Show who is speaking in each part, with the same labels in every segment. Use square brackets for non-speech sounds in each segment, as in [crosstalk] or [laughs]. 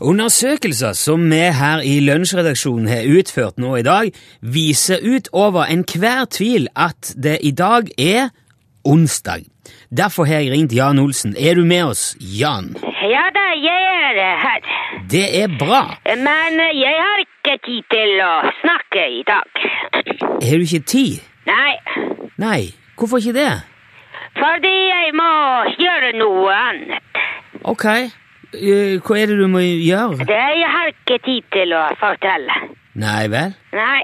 Speaker 1: Undersøkelser som vi her i lunsjredaksjonen har utført nå i dag, viser ut over enhver tvil at det i dag er onsdag. Derfor har jeg ringt Jan Olsen. Er du med oss, Jan?
Speaker 2: Ja da, jeg er her.
Speaker 1: Det er bra.
Speaker 2: Men jeg har ikke tid til å snakke i dag.
Speaker 1: Har du ikke tid?
Speaker 2: Nei,
Speaker 1: Nei, hvorfor ikke det?
Speaker 2: fordi jeg må gjøre noe annet.
Speaker 1: Ok, eh, hva er det du må gjøre?
Speaker 2: Det jeg har ikke tid til å fortelle.
Speaker 1: Nei vel?
Speaker 2: Nei,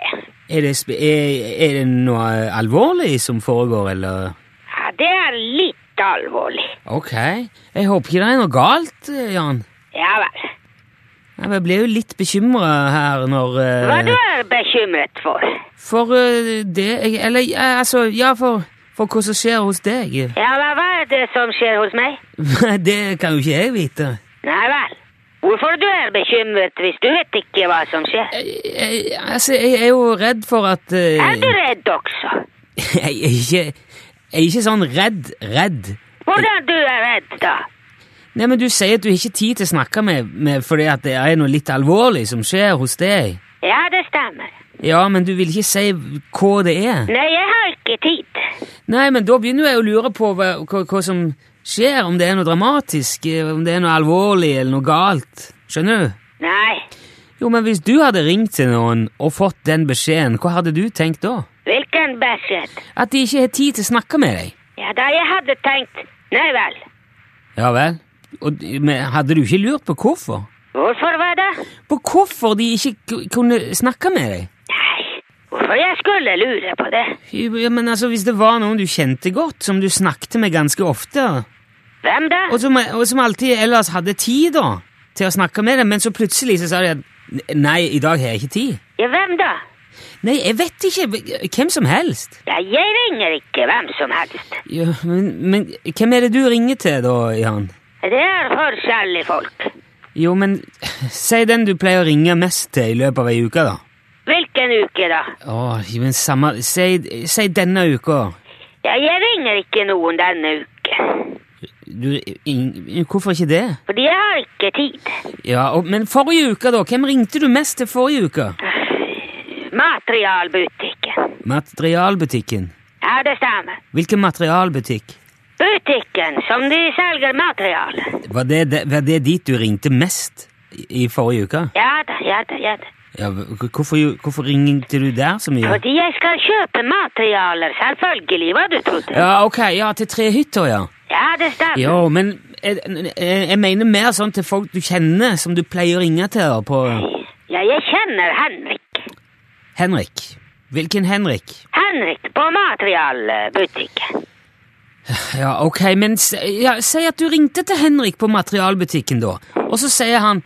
Speaker 1: Er det, sp- er, er det noe alvorlig som foregår, eller?
Speaker 2: ja, det er litt alvorlig.
Speaker 1: Ok, jeg håper ikke det er noe galt, eh, Jan.
Speaker 2: Ja vel.
Speaker 1: Nei, men Jeg ble jo litt bekymra her når eh,
Speaker 2: Hva du er bekymret for?
Speaker 1: For eh, det jeg- Eller eh, altså, ja, for, for hva som skjer hos deg. [laughs]
Speaker 2: Ja, men hva er det som skjer hos meg?
Speaker 1: det kan jo ikke jeg vite.
Speaker 2: Nei vel. Hvorfor du er bekymret hvis du vet ikke hva som skjer?
Speaker 1: Jeg, jeg, altså, jeg er jo redd for at eh,
Speaker 2: Er du redd også?
Speaker 1: [laughs] jeg, er ikke, jeg er ikke sånn redd, redd.
Speaker 2: Hvordan du er redd da?
Speaker 1: Nei, men Du sier at du ikke har tid til å snakke med, med fordi at det er noe litt alvorlig som skjer hos deg.
Speaker 2: Ja, det stemmer.
Speaker 1: Ja, men du vil ikke si hva det er.
Speaker 2: Nei, jeg har ikke tid.
Speaker 1: Nei, men da begynner jeg å lure på hva, hva, hva som skjer, om det er noe dramatisk, eh, om det er noe alvorlig eller noe galt. Skjønner du?
Speaker 2: Nei,
Speaker 1: Jo, men hvis du hadde ringt til noen og fått den beskjeden, hva hadde du tenkt da?
Speaker 2: hvilken beskjed?
Speaker 1: At de ikke har tid til å snakke med deg?
Speaker 2: Ja, da jeg hadde tenkt, nei vel.
Speaker 1: Ja vel? Og, men hadde du ikke lurt på hvorfor?
Speaker 2: Hvorfor var det?
Speaker 1: På hvorfor de ikke ku- kunne snakke med deg?
Speaker 2: Nei, hvorfor jeg skulle lure på det?
Speaker 1: Ja, men altså, Hvis det var noen du kjente godt, som du snakket med ganske ofte,
Speaker 2: Hvem da?
Speaker 1: og som, og som alltid ellers hadde tid da, til å snakke med deg, men så plutselig så sa de at "N- nei, i dag har jeg ikke tid.
Speaker 2: Ja, hvem da?
Speaker 1: Nei, jeg vet ikke. Hvem som helst.
Speaker 2: Ja, jeg ringer ikke hvem som helst.
Speaker 1: Ja, men, men hvem er det du ringer til da, Jan?
Speaker 2: Det er forskjellige folk.
Speaker 1: Jo, men si den du pleier å ringe mest til i løpet av ei uke, da.
Speaker 2: Hvilken uke da?
Speaker 1: Åh, men samme Si, si denne uka.
Speaker 2: Ja, jeg ringer ikke noen denne uke.
Speaker 1: Du, in, hvorfor ikke det?
Speaker 2: Fordi jeg har ikke tid.
Speaker 1: Ja, og, Men forrige uke, da? Hvem ringte du mest til forrige uke?
Speaker 2: Materialbutikken.
Speaker 1: Materialbutikken.
Speaker 2: Ja, det stemmer.
Speaker 1: Hvilken materialbutikk?
Speaker 2: Butikken som de selger material.
Speaker 1: Var det, de- var det dit du ringte mest i, i forrige uke?
Speaker 2: Ja da, ja da, ja da.
Speaker 1: Ja, h- hvorfor, jo- hvorfor ringte du der så mye?
Speaker 2: Fordi jeg skal kjøpe materialer, selvfølgelig, hva du trodde.
Speaker 1: Ja, ok, ja, til Trehytta, ja.
Speaker 2: Ja, det stemmer.
Speaker 1: Jo, men jeg, jeg, jeg mener mer sånn til folk du kjenner, som du pleier å ringe til da, på
Speaker 2: Ja, jeg kjenner Henrik.
Speaker 1: Henrik. Hvilken Henrik?
Speaker 2: Henrik på materialbutikken.
Speaker 1: Ja, ok, men s- ja, si at du ringte til Henrik på materialbutikken da, og så sier han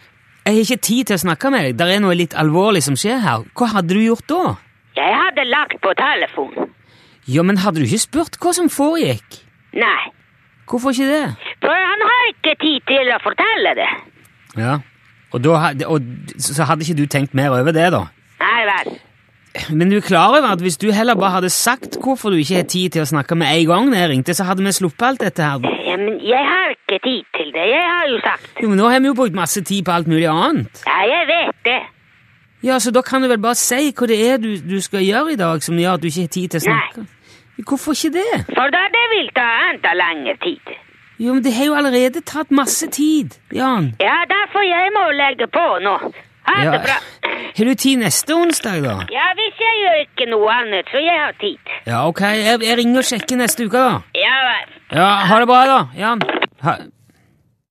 Speaker 1: «Jeg har ikke tid til å snakke med deg, der er noe litt alvorlig som skjer her». Hva hadde du gjort da?
Speaker 2: Jeg hadde lagt på telefon.
Speaker 1: Ja, men hadde du ikke spurt hva som foregikk?
Speaker 2: Nei,
Speaker 1: Hvorfor ikke det?
Speaker 2: for han har ikke tid til å fortelle det.
Speaker 1: Ja, og, da, hadde- og så hadde ikke du tenkt mer over det da?
Speaker 2: Nei vel.
Speaker 1: Men du er klar over at hvis du heller bare hadde sagt hvorfor du ikke har tid til å snakke med en gang når jeg ringte, så hadde vi sluppet alt dette her.
Speaker 2: Ja, men jeg har ikke tid til det, jeg har jo sagt.
Speaker 1: Jo, men nå har vi jo brukt masse tid på alt mulig annet.
Speaker 2: Ja, jeg vet det.
Speaker 1: Ja, så da kan du vel bare si hva det er du, du skal gjøre i dag som gjør at du ikke har tid til å snakke? Hvorfor ikke det?
Speaker 2: For da det vil ta enda lengre tid.
Speaker 1: Jo, men det har jo allerede tatt masse tid, Jan.
Speaker 2: Ja, derfor jeg må legge på nå. Ha det
Speaker 1: Ja,
Speaker 2: bra.
Speaker 1: Har du tid neste onsdag, da?
Speaker 2: Ja, hvis jeg gjør ikke noe annet, så jeg har tid.
Speaker 1: Ja, ok, jeg, jeg ringer og sjekker neste uke, da.
Speaker 2: Ja vel.
Speaker 1: Ja, ha det bra, da, Jan. Ha,